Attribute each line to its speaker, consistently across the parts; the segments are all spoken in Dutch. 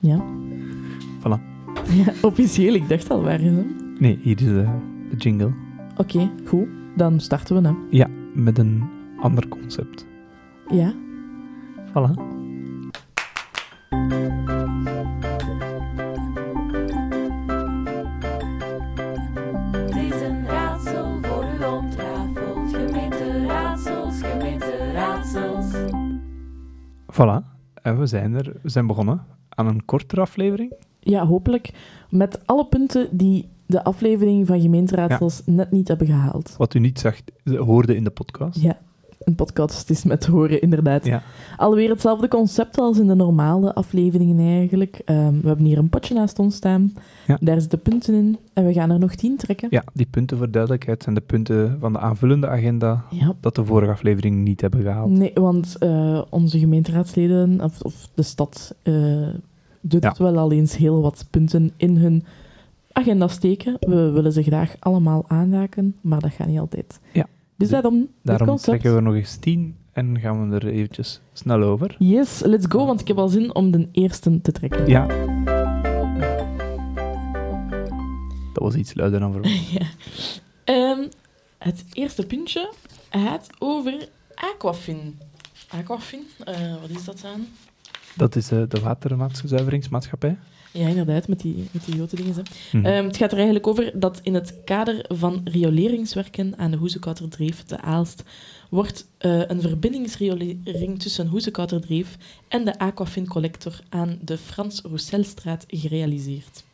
Speaker 1: Ja.
Speaker 2: Voilà.
Speaker 1: ja. Officieel, ik dacht al, waar is hem?
Speaker 2: Nee, hier is eh, de jingle.
Speaker 1: Oké, goed. Dan starten we dan.
Speaker 2: Ja, met een ander concept.
Speaker 1: Ja.
Speaker 2: Voilà.
Speaker 3: Het is een raadsel voor u ontrafeld. Gemeenteraadsels, gemeenteraadsels.
Speaker 2: Voilà. En we zijn er. We zijn begonnen aan een kortere aflevering.
Speaker 1: Ja, hopelijk. Met alle punten die de aflevering van gemeenteraadsels net niet hebben gehaald.
Speaker 2: Wat u niet zag, hoorde in de podcast.
Speaker 1: Ja, een podcast is met horen, inderdaad.
Speaker 2: Ja.
Speaker 1: Alweer hetzelfde concept als in de normale afleveringen eigenlijk. Ehm, we hebben hier een potje naast ons staan.
Speaker 2: Ja.
Speaker 1: Daar zitten punten in. En we gaan er nog tien trekken.
Speaker 2: Ja, die punten voor duidelijkheid zijn de punten van de aanvullende agenda
Speaker 1: Ja.
Speaker 2: dat de vorige aflevering niet hebben gehaald.
Speaker 1: Nee, want eh, onze gemeenteraadsleden, of, of de stad, eh doet
Speaker 2: Ja.
Speaker 1: wel al eens heel wat punten in hun agenda steken. We willen ze graag allemaal aanraken, maar dat gaat niet altijd.
Speaker 2: Ja.
Speaker 1: Dus
Speaker 2: Dus
Speaker 1: daarom,
Speaker 2: Daarom
Speaker 1: het concept.
Speaker 2: trekken we er nog eens tien en gaan we er eventjes snel over.
Speaker 1: Yes, let's go, want ik heb al zin om de eerste te trekken.
Speaker 2: Ja. Dat was iets luider dan verwacht.
Speaker 1: Ja. Ehm, het eerste puntje gaat over Aquafin. Aquafin, eh, wat is dat dan?
Speaker 2: Dat is eh, de waterzuiveringsmaatschappij.
Speaker 1: Ja, inderdaad, met die, met die grote dingen. Hè.
Speaker 2: Mhm.
Speaker 1: Ehm, het gaat er eigenlijk over dat in het kader van rioleringswerken aan de Hoezekouwterdreef te Aalst wordt eh, een verbindingsriolering tussen Hoezekouwterdreef en de Aquafin Collector aan de Frans Rousselstraat gerealiseerd.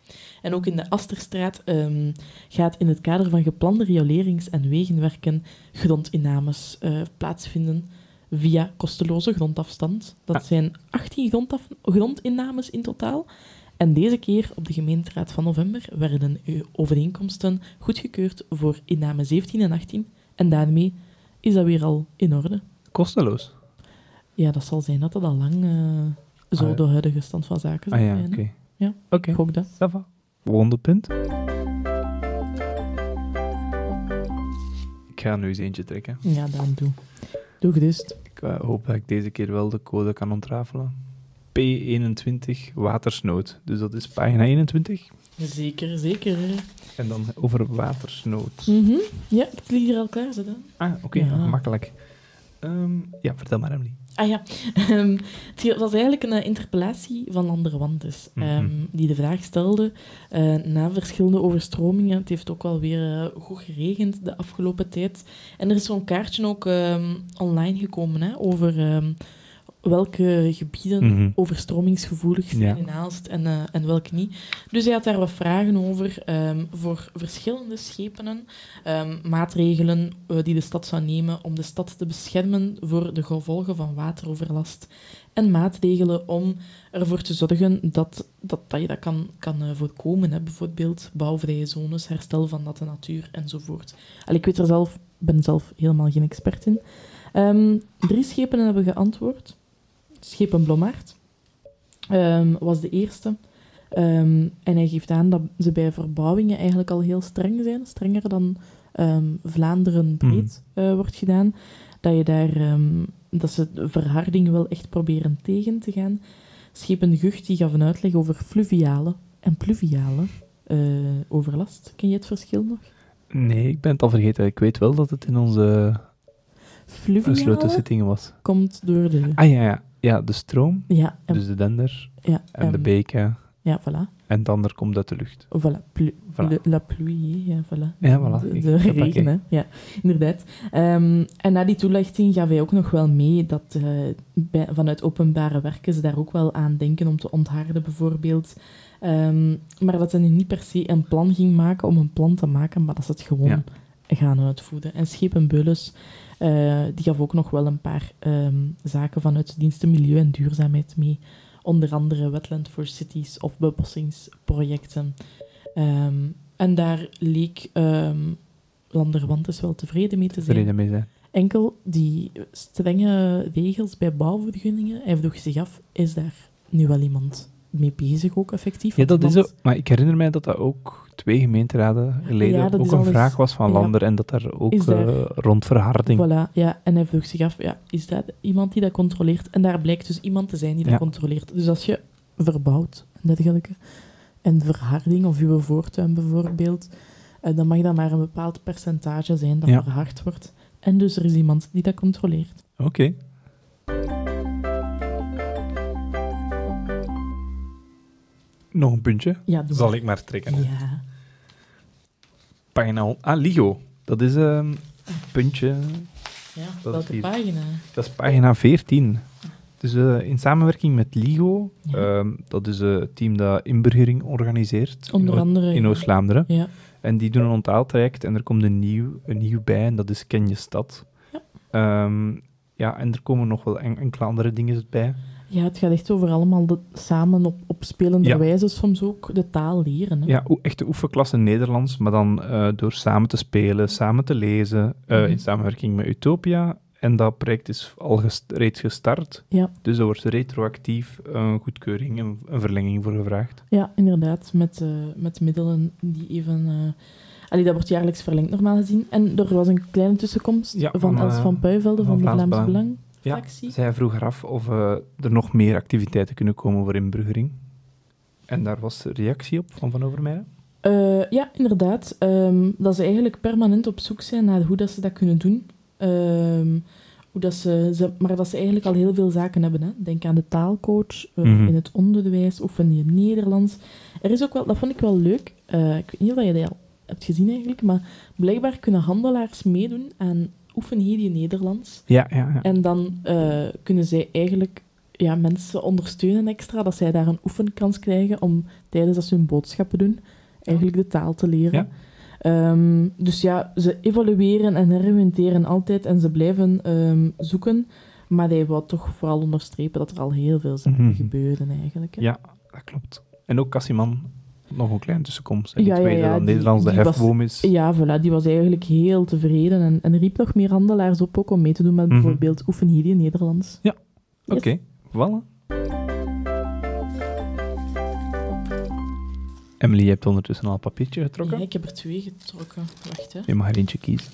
Speaker 1: En ook in de Asterstraat ehm, gaat in het kader van geplande riolerings- en wegenwerken grondinnames eh, plaatsvinden via kosteloze grondafstand. Dat
Speaker 2: Ah.
Speaker 1: zijn 18 grondaf- grondinnames in totaal. En deze keer op de gemeenteraad van november werden uw overeenkomsten goedgekeurd voor inname 17 en 18. En daarmee is dat weer al in orde.
Speaker 2: Kosteloos.
Speaker 1: Ja, dat zal zijn dat dat al lang eh, zo
Speaker 2: Ah, ja.
Speaker 1: de huidige stand van zaken
Speaker 2: Ah
Speaker 1: zal
Speaker 2: ja,
Speaker 1: zijn, hè.
Speaker 2: oké.
Speaker 1: Ja.
Speaker 2: Oké,
Speaker 1: Ik gok dat.
Speaker 2: ça va. Volgende punt. Ik ga nu eens eentje trekken.
Speaker 1: Ja, dan doe. Doe gerust.
Speaker 2: Ik eh, hoop dat ik deze keer wel de code kan ontrafelen. P21 watersnood. Dus dat is pagina 21.
Speaker 1: Zeker, zeker.
Speaker 2: En dan over watersnood.
Speaker 1: Mhm. Ja, ik heb het hier al klaar zitten.
Speaker 2: Ah, oké,
Speaker 1: Ja.
Speaker 2: makkelijk. Ehm, ja, vertel maar, Emily.
Speaker 1: Ah ja, Ehm, het was eigenlijk een eh, interpellatie van Landerwandes,
Speaker 2: Mhm.
Speaker 1: ehm, die de vraag stelde eh, na verschillende overstromingen. Het heeft ook wel weer eh, goed geregend de afgelopen tijd. En er is zo'n kaartje ook ehm, online gekomen hè, over ehm, welke gebieden
Speaker 2: Mhm.
Speaker 1: overstromingsgevoelig zijn
Speaker 2: Ja.
Speaker 1: in Aalst en, eh, en welke niet. Dus hij had daar wat vragen over ehm, voor verschillende schepenen. Ehm, maatregelen eh, die de stad zou nemen om de stad te beschermen voor de gevolgen van wateroverlast. En maatregelen om ervoor te zorgen dat, dat, dat je dat kan, kan eh, voorkomen. Hè. Bijvoorbeeld bouwvrije zones, herstel van natte natuur enzovoort. Allee, ik weet er zelf, ben zelf helemaal geen expert in. Ehm, drie schepen hebben geantwoord. Schepen Blommaert ehm, was de eerste. Ehm, en hij geeft aan dat ze bij verbouwingen eigenlijk al heel streng zijn. Strenger dan ehm, Vlaanderen breed eh, wordt gedaan. Dat, je daar, ehm, dat ze de verharding wel echt proberen tegen te gaan. Schepen Gucht die gaf een uitleg over fluviale en pluviale eh, overlast. Ken je het verschil nog?
Speaker 2: Nee, ik ben het al vergeten. Ik weet wel dat het in onze gesloten
Speaker 1: Fluviale
Speaker 2: zittingen was.
Speaker 1: komt door de...
Speaker 2: Ah ja, ja. ja de stroom,
Speaker 1: Ja, en,
Speaker 2: dus de dender
Speaker 1: ja,
Speaker 2: en de
Speaker 1: ehm,
Speaker 2: beken.
Speaker 1: Ja, voilà.
Speaker 2: En het ander komt uit de lucht.
Speaker 1: Voilà, plu-
Speaker 2: Voilà.
Speaker 1: le- la pluie, hè. ja, voilà.
Speaker 2: Ja, voilà.
Speaker 1: De,
Speaker 2: Ik-
Speaker 1: de
Speaker 2: hoppakee.
Speaker 1: regen, hè. Ja, inderdaad. Ehm, en na die toelichting gaf hij ook nog wel mee dat eh, bij- vanuit openbare werken ze daar ook wel aan denken om te ontharden, bijvoorbeeld. Ehm, maar dat ze nu niet per se een plan ging maken om een plan te maken, maar dat ze het gewoon
Speaker 2: Ja.
Speaker 1: gaan uitvoeren. En Schepenbeulens, eh die gaf ook nog wel een paar ehm, zaken vanuit diensten milieu en duurzaamheid mee. Onder andere Wetland for Cities of bebossingsprojecten. Ehm, en daar leek ehm Landerwantes wel tevreden mee te zijn.
Speaker 2: Tevreden mee zijn.
Speaker 1: Enkel die strenge regels bij bouwvergunningen, hij vroeg zich af, is daar nu wel iemand mee bezig ook effectief?
Speaker 2: Ja,
Speaker 1: Want
Speaker 2: dat is
Speaker 1: iemand-
Speaker 2: zo. Maar ik herinner mij dat dat ook twee gemeenteraden geleden
Speaker 1: Ja, dat
Speaker 2: ook
Speaker 1: is
Speaker 2: een
Speaker 1: al eens-
Speaker 2: vraag was van
Speaker 1: ja.
Speaker 2: Lander en dat daar ook
Speaker 1: Is daar-
Speaker 2: eh, rond verharding.
Speaker 1: Voilà, ja. En hij vroeg zich af, ja, is dat iemand die dat controleert? En daar blijkt dus iemand te zijn die dat
Speaker 2: Ja.
Speaker 1: controleert. Dus als je verbouwd en dergelijke. En verharding, of uw voortuin bijvoorbeeld, eh, dan mag dat maar een bepaald percentage zijn dat
Speaker 2: Ja.
Speaker 1: verhard wordt. En dus er is iemand die dat controleert.
Speaker 2: Oké. Nog een puntje.
Speaker 1: Ja, doe
Speaker 2: Zal
Speaker 1: maar.
Speaker 2: ik maar trekken.
Speaker 1: Ja.
Speaker 2: Pagina on- Ah, Ligo. Dat is ehm, een puntje.
Speaker 1: ja
Speaker 2: Dat is
Speaker 1: welke
Speaker 2: hier.
Speaker 1: pagina?
Speaker 2: Dat is pagina 14. Dus eh, in samenwerking met Ligo,
Speaker 1: Ja.
Speaker 2: ehm, dat is eh, het team dat inburgering organiseert in
Speaker 1: Onder
Speaker 2: Oost-
Speaker 1: andere.
Speaker 2: in
Speaker 1: ja.
Speaker 2: Oost-Vlaanderen.
Speaker 1: Ja.
Speaker 2: En die doen een onthaaltraject en er komt een nieuw, een nieuw bij en dat is Ken je stad.
Speaker 1: Ja.
Speaker 2: Ja, ja en er komen nog wel en- enkele andere dingen bij.
Speaker 1: ja, het gaat echt over allemaal de, samen op, op spelende
Speaker 2: Ja.
Speaker 1: wijze soms ook de taal leren. Hè?
Speaker 2: Ja, oe- echte oefenklasse Nederlands, maar dan eh, door samen te spelen, samen te lezen, eh,
Speaker 1: Mhm.
Speaker 2: in samenwerking met Utopia. En dat project is al ges- reeds gestart.
Speaker 1: Ja.
Speaker 2: Dus er wordt retroactief een goedkeuring, een, een verlenging voor gevraagd.
Speaker 1: Ja, inderdaad, met, eh, met middelen die even... eh, allee, dat wordt jaarlijks verlengd normaal gezien. En er was een kleine tussenkomst
Speaker 2: Ja,
Speaker 1: van,
Speaker 2: van,
Speaker 1: Els
Speaker 2: eh,
Speaker 1: van Puivelde van,
Speaker 2: van
Speaker 1: de
Speaker 2: Vlaams
Speaker 1: Vlaams
Speaker 2: Belang.
Speaker 1: Belang.
Speaker 2: Ja,
Speaker 1: fractie.
Speaker 2: Zij vroeg eraf of eh, er nog meer activiteiten kunnen komen voor inburgering. En daar was reactie op van Van Overmeijen.
Speaker 1: Eh, ja, inderdaad. Ehm, dat ze eigenlijk permanent op zoek zijn naar hoe dat ze dat kunnen doen. Ehm, hoe dat ze, ze, maar dat ze eigenlijk al heel veel zaken hebben. Hè. Denk aan de taalcoach, eh,
Speaker 2: Mhm.
Speaker 1: in het onderwijs, oefen je Nederlands. Er is ook wel, dat vond ik wel leuk. Eh, ik weet niet of je dat al hebt gezien eigenlijk, maar blijkbaar kunnen handelaars meedoen aan oefen hier je Nederlands.
Speaker 2: Ja, ja, ja.
Speaker 1: En dan eh, kunnen zij eigenlijk ja, mensen ondersteunen extra, dat zij daar een oefenkans krijgen om tijdens dat ze hun boodschappen doen, eigenlijk de taal te leren.
Speaker 2: Ja.
Speaker 1: Ehm, dus ja, ze evalueren en herinventeren altijd en ze blijven ehm, zoeken. Maar hij wou toch vooral onderstrepen dat er al heel veel zaken
Speaker 2: Mhm.
Speaker 1: gebeurden eigenlijk. hè.
Speaker 2: Ja, dat klopt. En ook Cassiman, nog een kleine tussenkomst. En
Speaker 1: Ja,
Speaker 2: die
Speaker 1: ja,
Speaker 2: tweede
Speaker 1: ja,
Speaker 2: dat
Speaker 1: die-
Speaker 2: Nederlands de
Speaker 1: die was-
Speaker 2: hefboom is.
Speaker 1: Ja, voilà, die was eigenlijk heel tevreden en, en riep nog meer handelaars op ook om mee te doen met
Speaker 2: Mhm.
Speaker 1: bijvoorbeeld Oefen hier in Nederlands.
Speaker 2: Oké, voilà. Emily, je hebt ondertussen al een papiertje getrokken.
Speaker 1: Ja, ik heb er twee getrokken. Wacht, hè.
Speaker 2: Je mag er eentje kiezen.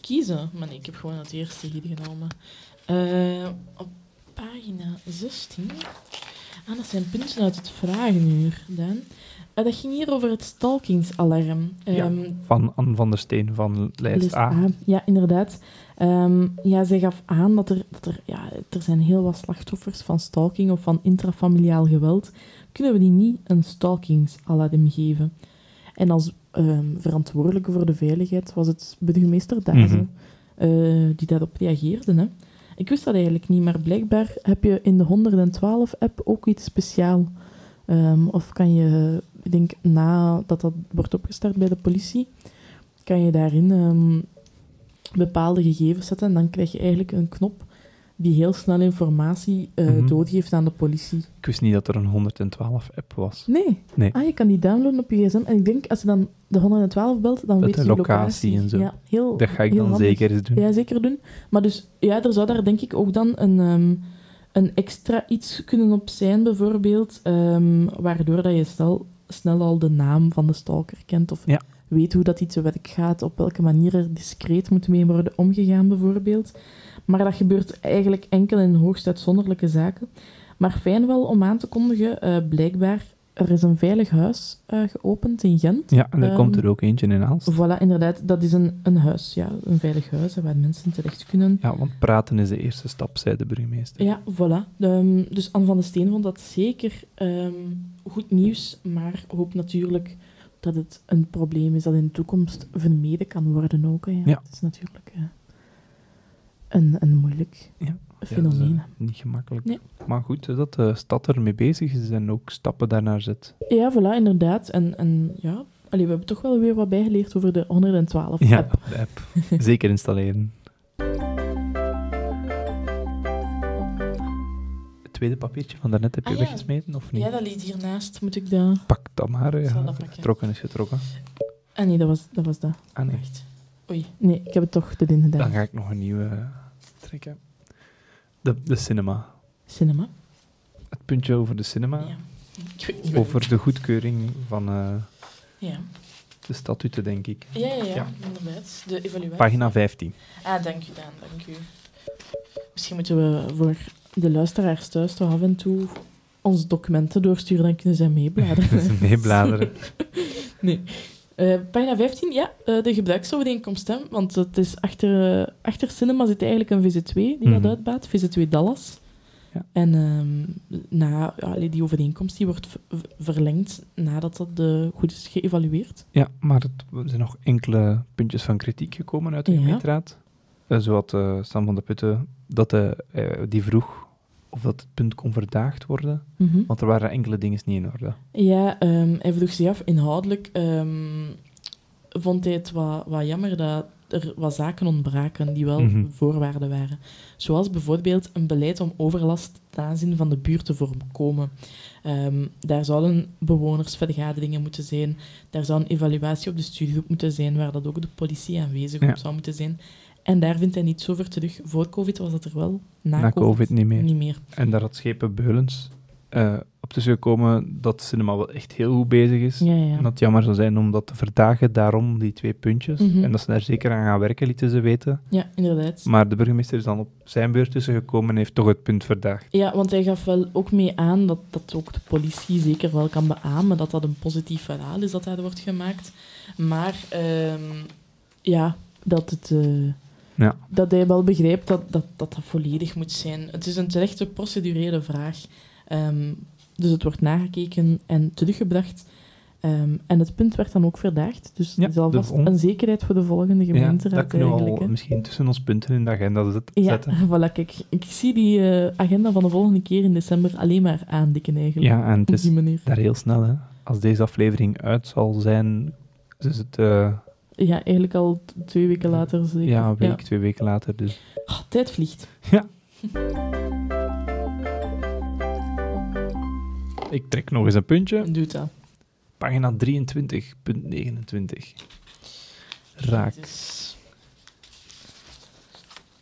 Speaker 1: kiezen. Maar nee, ik heb gewoon het eerste hier genomen. Eh, op pagina 16. Ah, dat zijn punten uit het vragenuur, Dan. Eh, dat ging hier over het stalkingsalarm.
Speaker 2: Ja.
Speaker 1: Ehm,
Speaker 2: Van Anne van der Steen van lijst,
Speaker 1: List
Speaker 2: A.
Speaker 1: A, Ja, inderdaad. Ehm, ja, zij gaf aan dat er, dat er, ja, er zijn heel wat slachtoffers van stalking of van intrafamiliaal geweld. Kunnen we die niet een stalkingsalarm geven? En als ehm, verantwoordelijke voor de veiligheid was het burgemeester Dazen eh, die daarop reageerde. Hè? Ik wist dat eigenlijk niet, maar blijkbaar heb je in de 112-app ook iets speciaal. Ehm, of kan je, ik denk nadat dat wordt opgestart bij de politie, kan je daarin ehm, bepaalde gegevens zetten. En dan krijg je eigenlijk een knop die heel snel informatie eh,
Speaker 2: Mhm.
Speaker 1: doorgeeft aan de politie.
Speaker 2: Ik wist niet dat er een 112-app was.
Speaker 1: Nee.
Speaker 2: Nee.
Speaker 1: Ah, je kan die downloaden op je gsm. En ik denk, als je dan de 112 belt, dan
Speaker 2: Met
Speaker 1: weet
Speaker 2: de
Speaker 1: je je
Speaker 2: locatie
Speaker 1: locatie.
Speaker 2: en zo.
Speaker 1: Ja, heel,
Speaker 2: Dat ga ik
Speaker 1: heel
Speaker 2: dan
Speaker 1: handig.
Speaker 2: zeker eens doen.
Speaker 1: Oh, Ja, zeker doen. Maar dus, ja, er zou daar denk ik ook dan een, ehm, een extra iets kunnen op zijn, bijvoorbeeld, ehm, waardoor dat je snel, snel al de naam van de stalker kent of
Speaker 2: Ja.
Speaker 1: weet hoe dat iets te werk gaat, op welke manier er discreet moet mee worden omgegaan, bijvoorbeeld. Maar dat gebeurt eigenlijk enkel in hoogst uitzonderlijke zaken. Maar fijn wel om aan te kondigen, eh, blijkbaar, er is een veilig huis eh, geopend in Gent.
Speaker 2: Ja, en er
Speaker 1: Ehm,
Speaker 2: komt er ook eentje in Aalst.
Speaker 1: Voilà, inderdaad. Dat is een, een huis, ja. Een veilig huis hè, waar mensen terecht kunnen.
Speaker 2: Ja, want praten is de eerste stap, zei de burgemeester.
Speaker 1: Ja, voilà. Ehm, dus Anne van de Steen vond dat zeker ehm, goed nieuws, maar hoopt natuurlijk dat het een probleem is dat in de toekomst vermeden kan worden ook. hè, Ja.
Speaker 2: Ja.
Speaker 1: Het is natuurlijk eh, een, een moeilijk
Speaker 2: Ja. Ja, dat is, eh,
Speaker 1: fenomeen.
Speaker 2: niet gemakkelijk.
Speaker 1: Nee.
Speaker 2: Maar goed, eh, dat de stad ermee bezig is en ook stappen daarnaar zet.
Speaker 1: Ja, voilà, inderdaad. En, en ja, Allee, we hebben toch wel weer wat bijgeleerd over de 112
Speaker 2: Ja,
Speaker 1: app.
Speaker 2: de app. Zeker installeren. Het tweede papiertje van daarnet heb je
Speaker 1: Ah, ja.
Speaker 2: weggesmeten, of niet?
Speaker 1: Ja, dat liet hiernaast. Moet ik dat...
Speaker 2: Pak dat maar.
Speaker 1: Ik zal
Speaker 2: Ja.
Speaker 1: dat pakken.
Speaker 2: Getrokken is getrokken.
Speaker 1: Ah nee, dat was dat. Was dat.
Speaker 2: Ah nee,
Speaker 1: Wacht. Oei. Nee, ik heb het toch erin
Speaker 2: dan
Speaker 1: gedaan.
Speaker 2: ga ik nog een nieuwe eh, trekken. De, de cinema.
Speaker 1: Cinema.
Speaker 2: Het puntje over de cinema.
Speaker 1: Ja. Ik weet niet meer.
Speaker 2: Over de goedkeuring van eh,
Speaker 1: Ja.
Speaker 2: de statuten, denk ik.
Speaker 1: Ja, ja, ja,
Speaker 2: Ja.
Speaker 1: inderdaad. De evaluatie.
Speaker 2: Pagina 15.
Speaker 1: Ah, dank u, Daan, dank u. Misschien moeten we voor de luisteraars thuis toch af en toe onze documenten doorsturen, dan kunnen zij meebladeren.
Speaker 2: Nee, bladeren.
Speaker 1: Nee. Eh, pagina 15, ja, eh, de gebruiksovereenkomst. Hè, want het is achter, eh, achter cinema zit eigenlijk een VZ2 die
Speaker 2: Mhm.
Speaker 1: dat uitbaat, VZ2 Dallas.
Speaker 2: Ja.
Speaker 1: En ehm, na, ja, allee, die overeenkomst die wordt v- verlengd nadat dat eh, goed is geëvalueerd.
Speaker 2: Ja, maar het- er zijn nog enkele puntjes van kritiek gekomen uit de
Speaker 1: Ja.
Speaker 2: gemeenteraad. Eh, Zo had eh, Sam van de Putten dat de, eh, die vroeg of dat het punt kon verdaagd worden,
Speaker 1: Mhm.
Speaker 2: want er waren enkele dingen niet in orde.
Speaker 1: Ja, ehm, hij vroeg zich af, inhoudelijk ehm, vond hij het wat, wat jammer dat er wat zaken ontbraken die wel
Speaker 2: Mhm.
Speaker 1: voorwaarden waren. Zoals bijvoorbeeld een beleid om overlast ten aanzien van de buurt te voorkomen. Ehm, daar zouden bewonersvergaderingen moeten zijn, daar zou een evaluatie op de studiegroep moeten zijn, waar dat ook de politie aanwezig
Speaker 2: Ja.
Speaker 1: op zou moeten zijn. En daar vindt hij niets over terug. Voor COVID was dat er wel, na,
Speaker 2: Na COVID niet meer.
Speaker 1: niet meer.
Speaker 2: En daar had Schepen Beulens eh, op tussen gekomen dat cinema wel echt heel goed bezig is.
Speaker 1: Ja, ja, ja.
Speaker 2: En dat het jammer zou zijn om dat te verdagen, daarom die twee puntjes.
Speaker 1: Mhm.
Speaker 2: En dat ze daar zeker aan gaan werken, lieten ze weten.
Speaker 1: ja inderdaad.
Speaker 2: Maar de burgemeester is dan op zijn beurt tussengekomen en heeft toch het punt verdaagd.
Speaker 1: Ja, want hij gaf wel ook mee aan dat, dat ook de politie zeker wel kan beamen dat dat een positief verhaal is dat daar wordt gemaakt. Maar ehm, ja, dat, het, eh,
Speaker 2: Ja.
Speaker 1: dat hij wel begrijpt dat dat, dat dat volledig moet zijn. Het is een terechte procedurele vraag. Ehm, dus het wordt nagekeken en teruggebracht. Ehm, en het punt werd dan ook verdaagd. Dus
Speaker 2: Ja,
Speaker 1: dat is alvast
Speaker 2: de vol-
Speaker 1: een zekerheid voor de volgende gemeenteraad.
Speaker 2: dat kunnen we al
Speaker 1: eigenlijk, hè.
Speaker 2: misschien tussen ons punten in de agenda zet-
Speaker 1: Ja,
Speaker 2: zetten.
Speaker 1: voilà, kijk. Ik zie die eh, agenda van de volgende keer in december alleen maar aandikken eigenlijk.
Speaker 2: Ja, en het
Speaker 1: Op
Speaker 2: is
Speaker 1: die manier.
Speaker 2: daar heel snel, hè. Als deze aflevering uit zal zijn, is het eh,
Speaker 1: Ja, eigenlijk al t- twee weken later. Zeker.
Speaker 2: ja, een week, twee weken later. Dus
Speaker 1: Ah, tijd vliegt.
Speaker 2: ik trek nog eens een puntje.
Speaker 1: Doet dat.
Speaker 2: Pagina 23.29. Raak.
Speaker 1: Dus-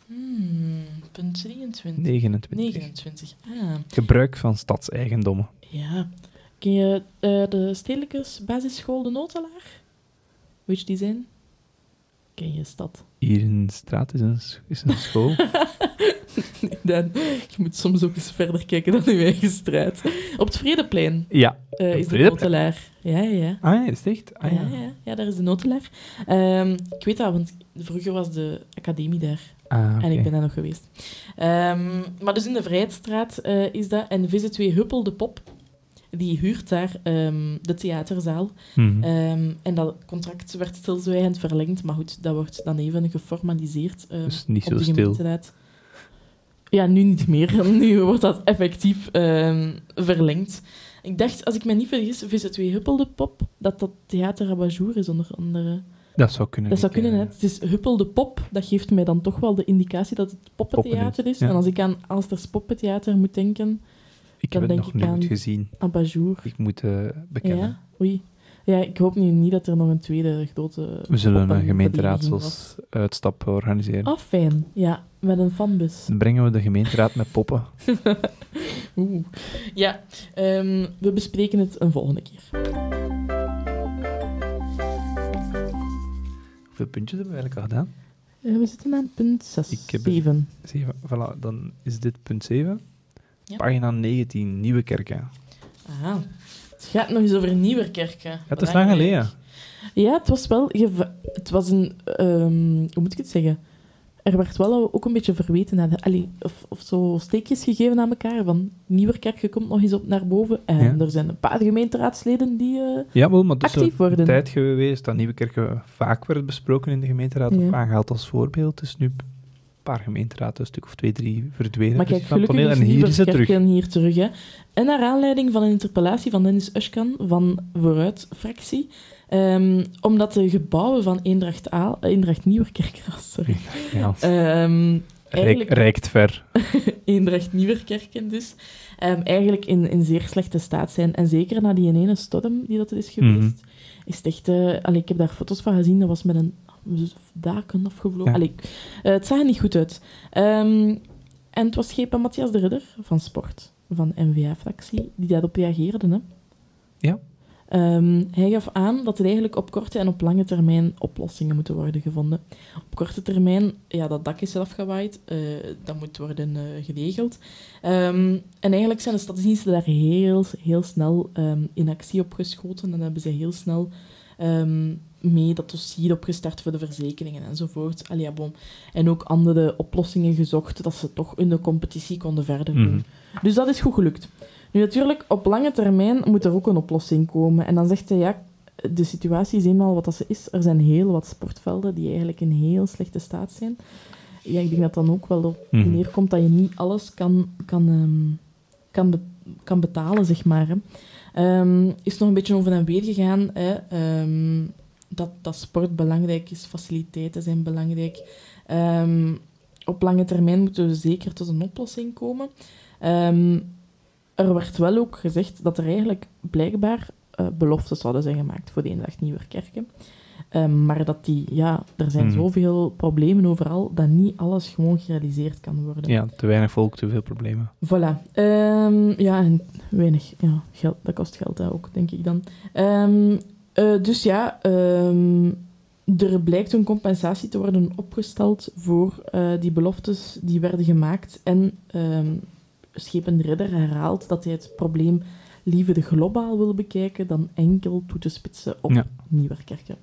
Speaker 1: Hmm, punt 23.
Speaker 2: 29.
Speaker 1: 29. Ah,
Speaker 2: Gebruik van stadseigendommen.
Speaker 1: ja. Ken je eh, de stedelijke basisschool De Notelaar? Weet je die zijn? Ken je stad?
Speaker 2: Hier in de straat is een, s- is een school.
Speaker 1: Nee, Dan, je moet soms ook eens verder kijken dan uw eigen straat. Op het Vredeplein.
Speaker 2: ja.
Speaker 1: Eh, is de
Speaker 2: Vredeplein?
Speaker 1: notelaar. Ja, ja, ja.
Speaker 2: Ah, ja, is het echt?
Speaker 1: Ja,
Speaker 2: Ah, ja.
Speaker 1: ja, ja, daar is de notelaar. Ehm, ik weet dat, want vroeger was de academie daar.
Speaker 2: Ah, oké.
Speaker 1: En ik ben daar nog geweest. Ehm, maar dus in de Vrijheidstraat eh, is dat. En VZ2 Huppel de Pop, die huurt daar ehm, de theaterzaal.
Speaker 2: Mhm.
Speaker 1: Ehm, en dat contract werd stilzwijgend verlengd. Maar goed, dat wordt dan even geformaliseerd. ehm,
Speaker 2: dus niet
Speaker 1: op
Speaker 2: zo
Speaker 1: de
Speaker 2: stil.
Speaker 1: gemeenteraad. Ja, nu niet meer. Nu wordt dat effectief ehm, verlengd. Ik dacht, als ik me niet vergis, VZ2 Huppel de Pop, dat dat theater Abajour is onder andere.
Speaker 2: Dat zou kunnen.
Speaker 1: Dat zou
Speaker 2: ik, eh,
Speaker 1: kunnen, hè. Het is Huppel de Pop. Dat geeft mij dan toch wel de indicatie dat het poppentheater
Speaker 2: Poppen
Speaker 1: is.
Speaker 2: is, ja.
Speaker 1: En als ik aan Alsters Poppentheater moet denken,
Speaker 2: Ik
Speaker 1: Dan
Speaker 2: heb het
Speaker 1: denk
Speaker 2: nog
Speaker 1: ik
Speaker 2: nooit
Speaker 1: aan-
Speaker 2: gezien.
Speaker 1: Abajour.
Speaker 2: Ik moet eh, bekennen.
Speaker 1: Ja, oei. Ja, ik hoop nu niet dat er nog een tweede grote...
Speaker 2: We zullen een
Speaker 1: poppenvereniging was.
Speaker 2: gemeenteraadsels uitstap organiseren.
Speaker 1: Ah, fijn. Ja, met een fanbus.
Speaker 2: Dan brengen we de gemeenteraad met poppen.
Speaker 1: Oeh. Ja, ehm, we bespreken het een volgende keer.
Speaker 2: Hoeveel puntjes hebben we eigenlijk al gedaan?
Speaker 1: Eh, we zitten aan punt 6,
Speaker 2: Ik heb er-
Speaker 1: 7.
Speaker 2: Zeven. Voilà, dan is dit punt 7.
Speaker 1: Ja.
Speaker 2: Pagina 19, Nieuwe Kerken.
Speaker 1: Aha. Het gaat nog eens over Nieuwerkerken.
Speaker 2: Het is lang geleden.
Speaker 1: Ja, het was wel... geva- Het was een... ehm, hoe moet ik het zeggen? Er werd wel ook een beetje verweten naar de, allee, of, of zo steekjes gegeven aan elkaar. Van Nieuwerkerken komt nog eens op naar boven. En
Speaker 2: Ja.
Speaker 1: er zijn een paar gemeenteraadsleden die... eh,
Speaker 2: Jawel, maar het is
Speaker 1: Actief
Speaker 2: een
Speaker 1: worden.
Speaker 2: tijd geweest dat Nieuwe Kerken vaak werd besproken in de gemeenteraad
Speaker 1: Ja.
Speaker 2: of aangehaald als voorbeeld. Dus nu een paar gemeenteraden, een stuk of twee, drie verdwenen.
Speaker 1: Maar
Speaker 2: Dus
Speaker 1: kijk,
Speaker 2: van het
Speaker 1: gelukkig is
Speaker 2: toneel. En hier is het terug.
Speaker 1: Nieuwerkerken hier terug. Hè. En naar aanleiding van een interpellatie van Dennis Ushkan van Vooruit-fractie, ehm, omdat de gebouwen van Eendracht, A, eh, Eendracht Nieuwerkerk, ah, sorry,
Speaker 2: Ja,
Speaker 1: Ehm,
Speaker 2: rijk, reikt ver.
Speaker 1: Eendracht Nieuwerkerken dus, ehm, eigenlijk in, in zeer slechte staat zijn. En zeker na die ene storm die dat er is geweest,
Speaker 2: Mhm.
Speaker 1: is het echt... eh, allee, ik heb daar foto's van gezien, dat was met een daken afgevlogen.
Speaker 2: Ja.
Speaker 1: Allee, ik- eh, het zag er niet goed uit. Ehm, en het was Gepa Matthias de Ridder van Sport, van NVA-fractie, die daarop reageerde. Hè?
Speaker 2: Ja.
Speaker 1: Ehm, hij gaf aan dat er eigenlijk op korte en op lange termijn oplossingen moeten worden gevonden. Op korte termijn, ja, dat dak is afgewaaid, eh, dat moet worden eh, geregeld. Ehm, en eigenlijk zijn de stadsdiensten daar heel, heel snel ehm, in actie op geschoten en hebben ze heel snel ehm, mee dat dossier opgestart voor de verzekeringen enzovoort. Allee, ja, bon. En ook andere oplossingen gezocht dat ze toch in de competitie konden verder doen.
Speaker 2: Mhm.
Speaker 1: Dus dat is goed gelukt. Nu natuurlijk, op lange termijn moet er ook een oplossing komen. En dan zegt hij, ja, de situatie is eenmaal wat dat ze is. Er zijn heel wat sportvelden die eigenlijk in heel slechte staat zijn. Ja, ik denk dat dan ook wel op
Speaker 2: Mhm.
Speaker 1: neerkomt dat je niet alles kan, kan, ehm, kan, be- kan betalen, zeg maar. Hè. Ehm, is nog een beetje over en weer gegaan. Hè. ehm, dat, dat sport belangrijk is, faciliteiten zijn belangrijk. Ehm, op lange termijn moeten we zeker tot een oplossing komen. Ehm, er werd wel ook gezegd dat er eigenlijk blijkbaar eh, beloftes zouden zijn gemaakt voor de eendracht Nieuwerkerken. Ehm, maar dat die, ja, er zijn
Speaker 2: Mhm.
Speaker 1: zoveel problemen overal dat niet alles gewoon gerealiseerd kan worden.
Speaker 2: Ja, te weinig volk, te veel problemen.
Speaker 1: Voilà. Ehm, ja, en weinig. Ja, geld, dat kost geld hè, ook, denk ik dan. Ehm, eh, dus ja, ehm, er blijkt een compensatie te worden opgesteld voor eh, die beloftes die werden gemaakt. En ehm Schepen Ridder herhaalt dat hij het probleem liever de globaal wil bekijken dan enkel toe te spitsen op
Speaker 2: Ja.
Speaker 1: Nieuwerkerken.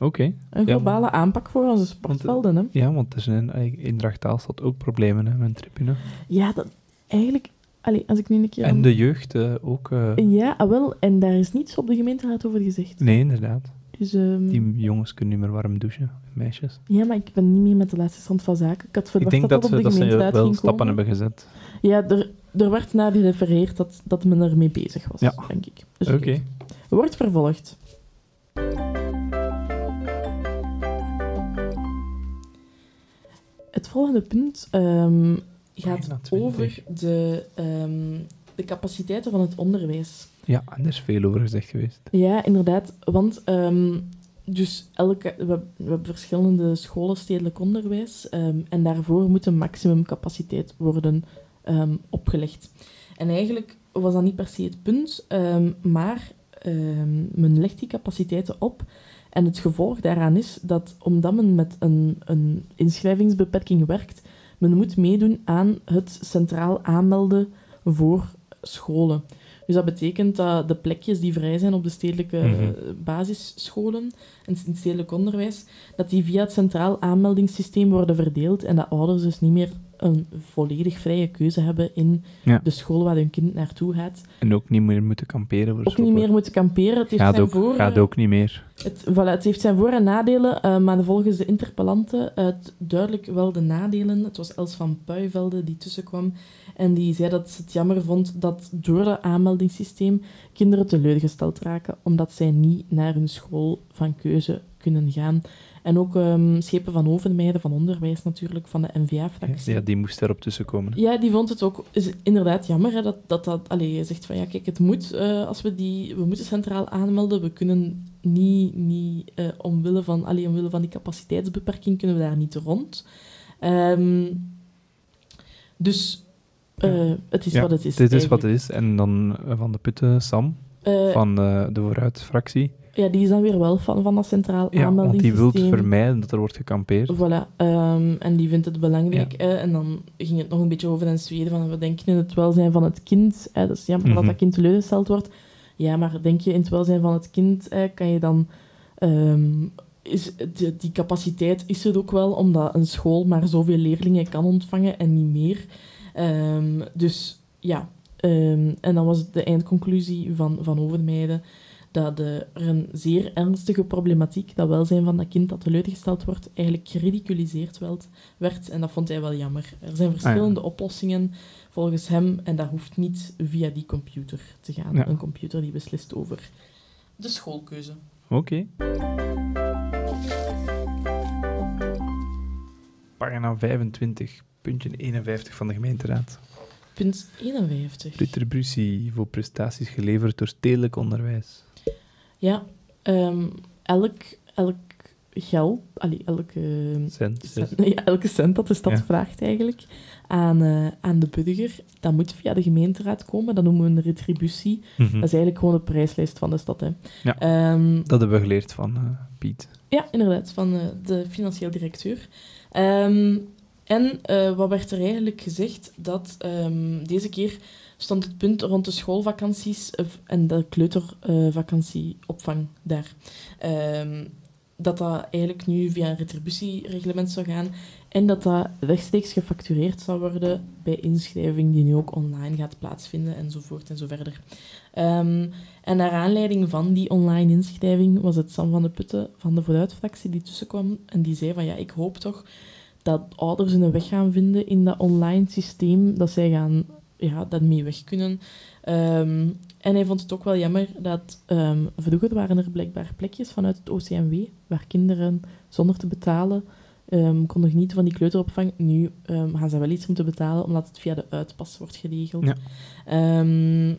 Speaker 2: Oké.
Speaker 1: Een
Speaker 2: Ja, eh,
Speaker 1: globale aanpak voor onze sportvelden, hè?
Speaker 2: Ja, want er zijn eigenlijk in Drachtaalstad ook problemen hè, met tribune.
Speaker 1: Ja, dat, eigenlijk... Allee, als ik nu een keer... aan-
Speaker 2: En de jeugd eh, ook. eh,
Speaker 1: Ja, ah, wel. En daar is niets op de gemeenteraad over gezegd.
Speaker 2: Nee, inderdaad.
Speaker 1: Dus, ehm,
Speaker 2: Die jongens kunnen niet meer warm douchen, meisjes.
Speaker 1: Ja, maar ik ben niet meer met de laatste stand van zaken. Ik had
Speaker 2: Ik
Speaker 1: verwacht
Speaker 2: denk dat,
Speaker 1: dat, op
Speaker 2: ze,
Speaker 1: de
Speaker 2: dat ze eh,
Speaker 1: gemeenteraad
Speaker 2: wel
Speaker 1: ging
Speaker 2: stappen
Speaker 1: komen.
Speaker 2: hebben gezet.
Speaker 1: Ja, er, er werd naar gerefereerd dat, dat men ermee bezig was,
Speaker 2: Ja.
Speaker 1: denk ik. Dus
Speaker 2: Oké.
Speaker 1: kijk, Wordt vervolgd. Het volgende punt ehm, gaat
Speaker 2: 21.
Speaker 1: over de, ehm, de capaciteiten van het onderwijs.
Speaker 2: Ja, en er is veel over gezegd geweest.
Speaker 1: Ja, inderdaad. Want ehm, dus elke, we, we hebben verschillende scholen stedelijk onderwijs. ehm, en daarvoor moet een maximumcapaciteit worden ehm, opgelegd. En eigenlijk was dat niet per se het punt, ehm, maar ehm, men legt die capaciteiten op. En het gevolg daaraan is dat omdat men met een, een inschrijvingsbeperking werkt, men moet meedoen aan het centraal aanmelden voor scholen. Dus dat betekent dat de plekjes die vrij zijn op de stedelijke
Speaker 2: Mhm.
Speaker 1: eh, basisscholen en in het stedelijk onderwijs, dat die via het centraal aanmeldingssysteem worden verdeeld en dat ouders dus niet meer een volledig vrije keuze hebben in
Speaker 2: Ja.
Speaker 1: de school waar hun kind naartoe gaat.
Speaker 2: En ook niet meer moeten kamperen. Voor
Speaker 1: Ook niet meer moeten kamperen. Het heeft
Speaker 2: Gaat
Speaker 1: zijn
Speaker 2: ook,
Speaker 1: voor- eh,
Speaker 2: gaat ook niet meer.
Speaker 1: het, voilà, het heeft zijn voor- en nadelen, eh, maar volgens de interpellanten uit duidelijk wel de nadelen. Het was Els van Puivelde die tussenkwam en die zei dat ze het jammer vond dat door dat aanmeldingssysteem kinderen teleurgesteld raken, omdat zij niet naar hun school van keuze kunnen gaan. En ook ehm, Schepen van Overmeijden van Onderwijs natuurlijk, van de NVA-fractie.
Speaker 2: Ja, die moest daarop tussenkomen. hè.
Speaker 1: Ja, die vond het ook is inderdaad jammer hè, dat dat. dat allee, je zegt van ja, kijk, het moet eh, als we die. We moeten centraal aanmelden. We kunnen niet. niet eh, omwille, van, allee, omwille van die capaciteitsbeperking kunnen we daar niet rond. Ehm, dus eh, het is
Speaker 2: Ja,
Speaker 1: wat het is.
Speaker 2: Dit is wat
Speaker 1: eigenlijk.
Speaker 2: het is. En dan eh, Van de Putten, Sam,
Speaker 1: Eh,
Speaker 2: van eh, de Vooruit-fractie.
Speaker 1: ja, die is dan weer wel van, van dat centraal
Speaker 2: Ja, want die
Speaker 1: aanmeldingssysteem.
Speaker 2: wil vermijden dat er wordt gekampeerd.
Speaker 1: Voilà, ehm, en die vindt het belangrijk. eh, en dan ging het nog een beetje over in Zweden, van we denken in het welzijn van het kind. eh, dat is jammer
Speaker 2: Mhm.
Speaker 1: dat dat kind teleurgesteld wordt. Ja, maar denk je in het welzijn van het kind, eh, kan je dan... ehm, is, de- die capaciteit is er ook wel, omdat een school maar zoveel leerlingen kan ontvangen en niet meer. Ehm, dus ja, ehm, en dan was het de eindconclusie van, van Overmeijden dat eh, er een zeer ernstige problematiek, dat welzijn van dat kind dat teleurgesteld wordt, eigenlijk geridiculiseerd werd, werd. En dat vond hij wel jammer. Er zijn verschillende oplossingen volgens hem en dat hoeft niet via die computer te gaan.
Speaker 2: Ja.
Speaker 1: Een computer die beslist over de schoolkeuze.
Speaker 2: Oké. Pagina 25, puntje 51 van de gemeenteraad.
Speaker 1: Punt 51.
Speaker 2: Retributie voor prestaties geleverd door stedelijk onderwijs.
Speaker 1: Ja, ehm, elk, elk geld, allee, elke
Speaker 2: Cent, zes.
Speaker 1: Nee, Dus ja, elke cent dat de stad
Speaker 2: Ja.
Speaker 1: vraagt eigenlijk aan, eh, aan de buddiger, dat moet via de gemeenteraad komen. Dat noemen we een retributie.
Speaker 2: Mhm.
Speaker 1: Dat is eigenlijk gewoon de prijslijst van de stad. Hè.
Speaker 2: Ja.
Speaker 1: Ehm,
Speaker 2: Dat hebben we geleerd van eh, Piet.
Speaker 1: ja, inderdaad, van eh, de financieel directeur. Ehm, en eh, wat werd er eigenlijk gezegd? Dat ehm, deze keer stond het punt rond de schoolvakanties eh, en de kleutervakantieopvang daar. Ehm, dat dat eigenlijk nu via een retributiereglement zou gaan en dat dat rechtstreeks gefactureerd zou worden bij inschrijving die nu ook online gaat plaatsvinden enzovoort en zo verder. Ehm, en naar aanleiding van die online inschrijving was het Sam van de Putten van de Vooruitfractie die tussenkwam en die zei van ja, ik hoop toch dat ouders een weg gaan vinden in dat online systeem, dat zij gaan ja, daarmee weg kunnen. Ehm, en hij vond het ook wel jammer dat ehm, vroeger waren er blijkbaar plekjes vanuit het OCMW waar kinderen zonder te betalen ehm, konden genieten van die kleuteropvang. Nu ehm, gaan ze wel iets moeten betalen omdat het via de uitpas wordt geregeld.
Speaker 2: Ja.
Speaker 1: Ehm,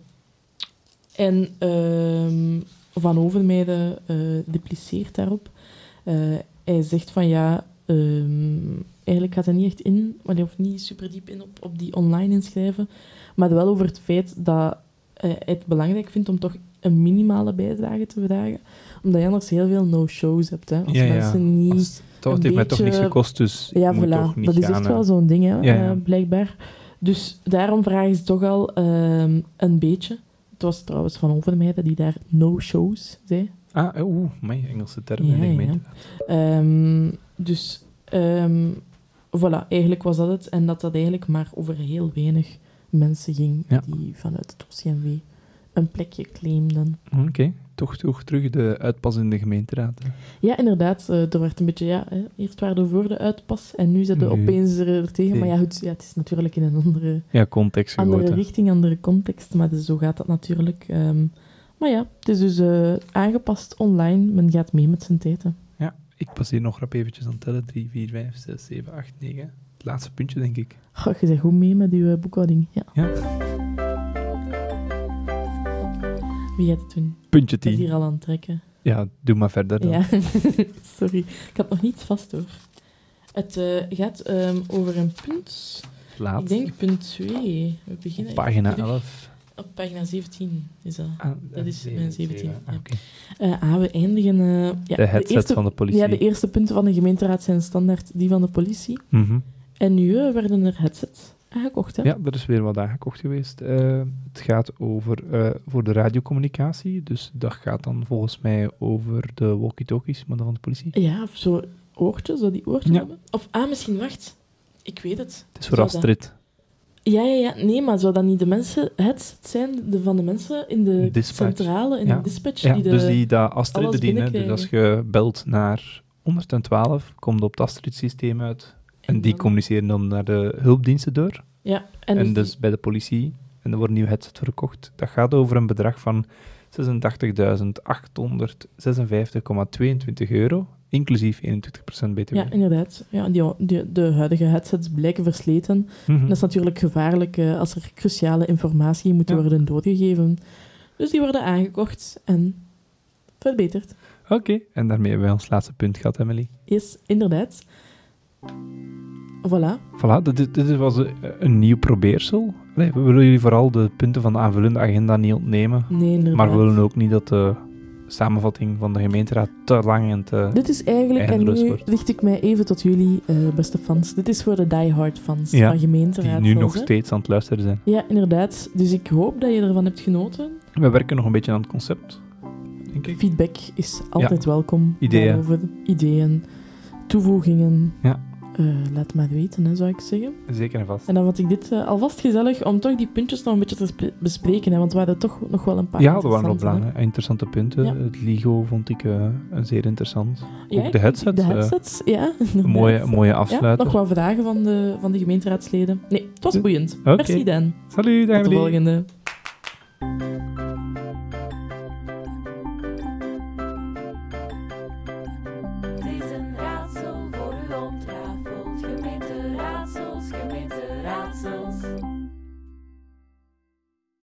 Speaker 1: en ehm, Van Overmeijden eh dupliceert daarop. Eh, hij zegt van ja, ehm, eigenlijk gaat hij niet echt in, maar hij hoeft niet super diep in op, op die online inschrijven, maar wel over het feit dat eh, hij het belangrijk vindt om toch een minimale bijdrage te vragen, omdat je anders heel veel no-shows hebt. Hè? Als
Speaker 2: Ja, ja.
Speaker 1: mensen niet...
Speaker 2: Als het- dat
Speaker 1: een
Speaker 2: heeft mij toch
Speaker 1: beetje-
Speaker 2: niks gekost, dus
Speaker 1: Ja,
Speaker 2: ik moet
Speaker 1: voilà.
Speaker 2: toch niet
Speaker 1: Dat is
Speaker 2: gaan,
Speaker 1: echt
Speaker 2: eh.
Speaker 1: wel zo'n ding, hè,
Speaker 2: ja.
Speaker 1: eh, blijkbaar. Dus daarom vragen ze toch al ehm, een beetje. Het was trouwens van Overmeijden die daar no-shows zei.
Speaker 2: Ah, eh, oeh, mijn Engelse term.
Speaker 1: Ja,
Speaker 2: in de
Speaker 1: ja.
Speaker 2: gemeente.
Speaker 1: Ehm, dus ehm, voilà, eigenlijk was dat het. En dat dat eigenlijk maar over heel weinig mensen ging
Speaker 2: Ja.
Speaker 1: die vanuit het OCMW een plekje claimden.
Speaker 2: Oké, toch, toch terug de uitpas in de gemeenteraad. hè.
Speaker 1: Ja, inderdaad. eh, er werd een beetje, ja, hè, eerst waren er voor de uitpas en nu zitten
Speaker 2: Nu.
Speaker 1: opeens er, er tegen. Maar ja,
Speaker 2: Tegen.
Speaker 1: goed, ja, het is natuurlijk in een andere...
Speaker 2: Ja, context
Speaker 1: andere
Speaker 2: gegoten.
Speaker 1: richting, andere context. Maar dus zo gaat dat natuurlijk. Ehm, maar ja, het is dus eh, aangepast online. Men gaat mee met zijn tijd. hè.
Speaker 2: Ik pas hier nog rap eventjes aan het tellen. 3, 4, 5, 6, 7, 8, 9. Het laatste puntje, denk ik.
Speaker 1: Goh, je zegt goed mee met uw eh, boekhouding. Ja.
Speaker 2: Ja.
Speaker 1: Wie gaat het doen?
Speaker 2: Puntje
Speaker 1: Ik ben
Speaker 2: 10.
Speaker 1: hier al aan het trekken.
Speaker 2: Ja, doe maar verder dan.
Speaker 1: Ja, sorry. Ik had nog niets vast hoor. Het eh, gaat ehm, over een punt.
Speaker 2: Laat.
Speaker 1: Ik denk punt 2. We beginnen
Speaker 2: Pagina
Speaker 1: terug
Speaker 2: 11.
Speaker 1: Op pagina 17 is dat.
Speaker 2: Ah,
Speaker 1: Dat is
Speaker 2: zeven,
Speaker 1: mijn 17,
Speaker 2: zeven. Ah,
Speaker 1: ja.
Speaker 2: oké.
Speaker 1: Eh, ah, we eindigen... eh, ja,
Speaker 2: de headset
Speaker 1: eerste,
Speaker 2: van de politie.
Speaker 1: Ja, de eerste punten van de gemeenteraad zijn standaard die van de politie.
Speaker 2: Mhm.
Speaker 1: En nu eh, werden er headsets aangekocht, hè?
Speaker 2: Ja, er is weer wat aangekocht geweest. Eh, het gaat over eh, voor de radiocommunicatie. Dus dat gaat dan volgens mij over de walkie-talkies, maar dan van de politie.
Speaker 1: Ja, of zo oortjes, dat die oortjes
Speaker 2: Ja.
Speaker 1: hebben. Of, ah, misschien, wacht. Ik weet het.
Speaker 2: Het is voor
Speaker 1: Zou
Speaker 2: Astrid.
Speaker 1: dat- Ja, ja, ja. Nee, maar zou dat niet de mensen, headsets zijn de, van de mensen in de
Speaker 2: Dispatch.
Speaker 1: centrale, in
Speaker 2: Ja.
Speaker 1: de dispatch?
Speaker 2: Ja,
Speaker 1: die de,
Speaker 2: dus die dat Astrid
Speaker 1: alles
Speaker 2: bedienen. Dus
Speaker 1: binnenkrijgen.
Speaker 2: als je belt naar 112, komt op het Astrid-systeem uit. En die
Speaker 1: dan-
Speaker 2: communiceren dan naar de hulpdiensten door.
Speaker 1: Ja, en,
Speaker 2: En,
Speaker 1: dus,
Speaker 2: dus,
Speaker 1: die-
Speaker 2: bij de politie. En er wordt een nieuw headset verkocht. Dat gaat over een bedrag van 86.856,22 euro. Inclusief 21% BTW.
Speaker 1: ja, inderdaad. Ja, die, die- de huidige headsets blijken versleten.
Speaker 2: Mhm.
Speaker 1: Dat is natuurlijk gevaarlijk eh, als er cruciale informatie moet
Speaker 2: Ja.
Speaker 1: worden doorgegeven. Dus die worden aangekocht en verbeterd.
Speaker 2: Oké, en daarmee hebben wij ons laatste punt gehad, Emily.
Speaker 1: Yes, inderdaad. Voilà.
Speaker 2: Voilà, dit, dit- dit was een, een nieuw probeersel. Allee, we willen jullie vooral de punten van de aanvullende agenda niet ontnemen.
Speaker 1: Nee, inderdaad.
Speaker 2: Maar we willen ook niet dat de samenvatting van de gemeenteraad te lang en te...
Speaker 1: Dit is eigenlijk, en
Speaker 2: Eindeloos
Speaker 1: nu
Speaker 2: wordt.
Speaker 1: richt ik mij even tot jullie, eh, beste fans. Dit is voor de diehard fans
Speaker 2: Ja,
Speaker 1: van
Speaker 2: die
Speaker 1: gemeenteraad.
Speaker 2: nu nog steeds aan het luisteren zijn.
Speaker 1: Ja, inderdaad. Dus ik hoop dat je ervan hebt genoten.
Speaker 2: We werken nog een beetje aan het concept, denk ik.
Speaker 1: Feedback is altijd welkom.
Speaker 2: Ideeën.
Speaker 1: Daarover. Ideeën, toevoegingen.
Speaker 2: Ja.
Speaker 1: Eh, laat maar weten, hè, zou ik zeggen.
Speaker 2: Zeker en vast.
Speaker 1: En dan vond ik dit eh, alvast gezellig om toch die puntjes nog een beetje te sp- bespreken. Hè, want we hadden toch nog wel een paar
Speaker 2: Ja, dat waren wel
Speaker 1: interessante, hè.
Speaker 2: belangrijk. Interessante punten.
Speaker 1: Ja.
Speaker 2: Het Ligo vond ik eh, een zeer interessant.
Speaker 1: Ja,
Speaker 2: ook de headsets.
Speaker 1: De
Speaker 2: eh,
Speaker 1: headsets, ja.
Speaker 2: een mooie,
Speaker 1: inderdaad.
Speaker 2: mooie
Speaker 1: Ja,
Speaker 2: afsluiter.
Speaker 1: nog wat vragen van de, van de gemeenteraadsleden. Nee, het was boeiend.
Speaker 2: Oké.
Speaker 1: Merci Dan. Tot
Speaker 2: Salut,
Speaker 1: de
Speaker 2: Emily.
Speaker 1: volgende.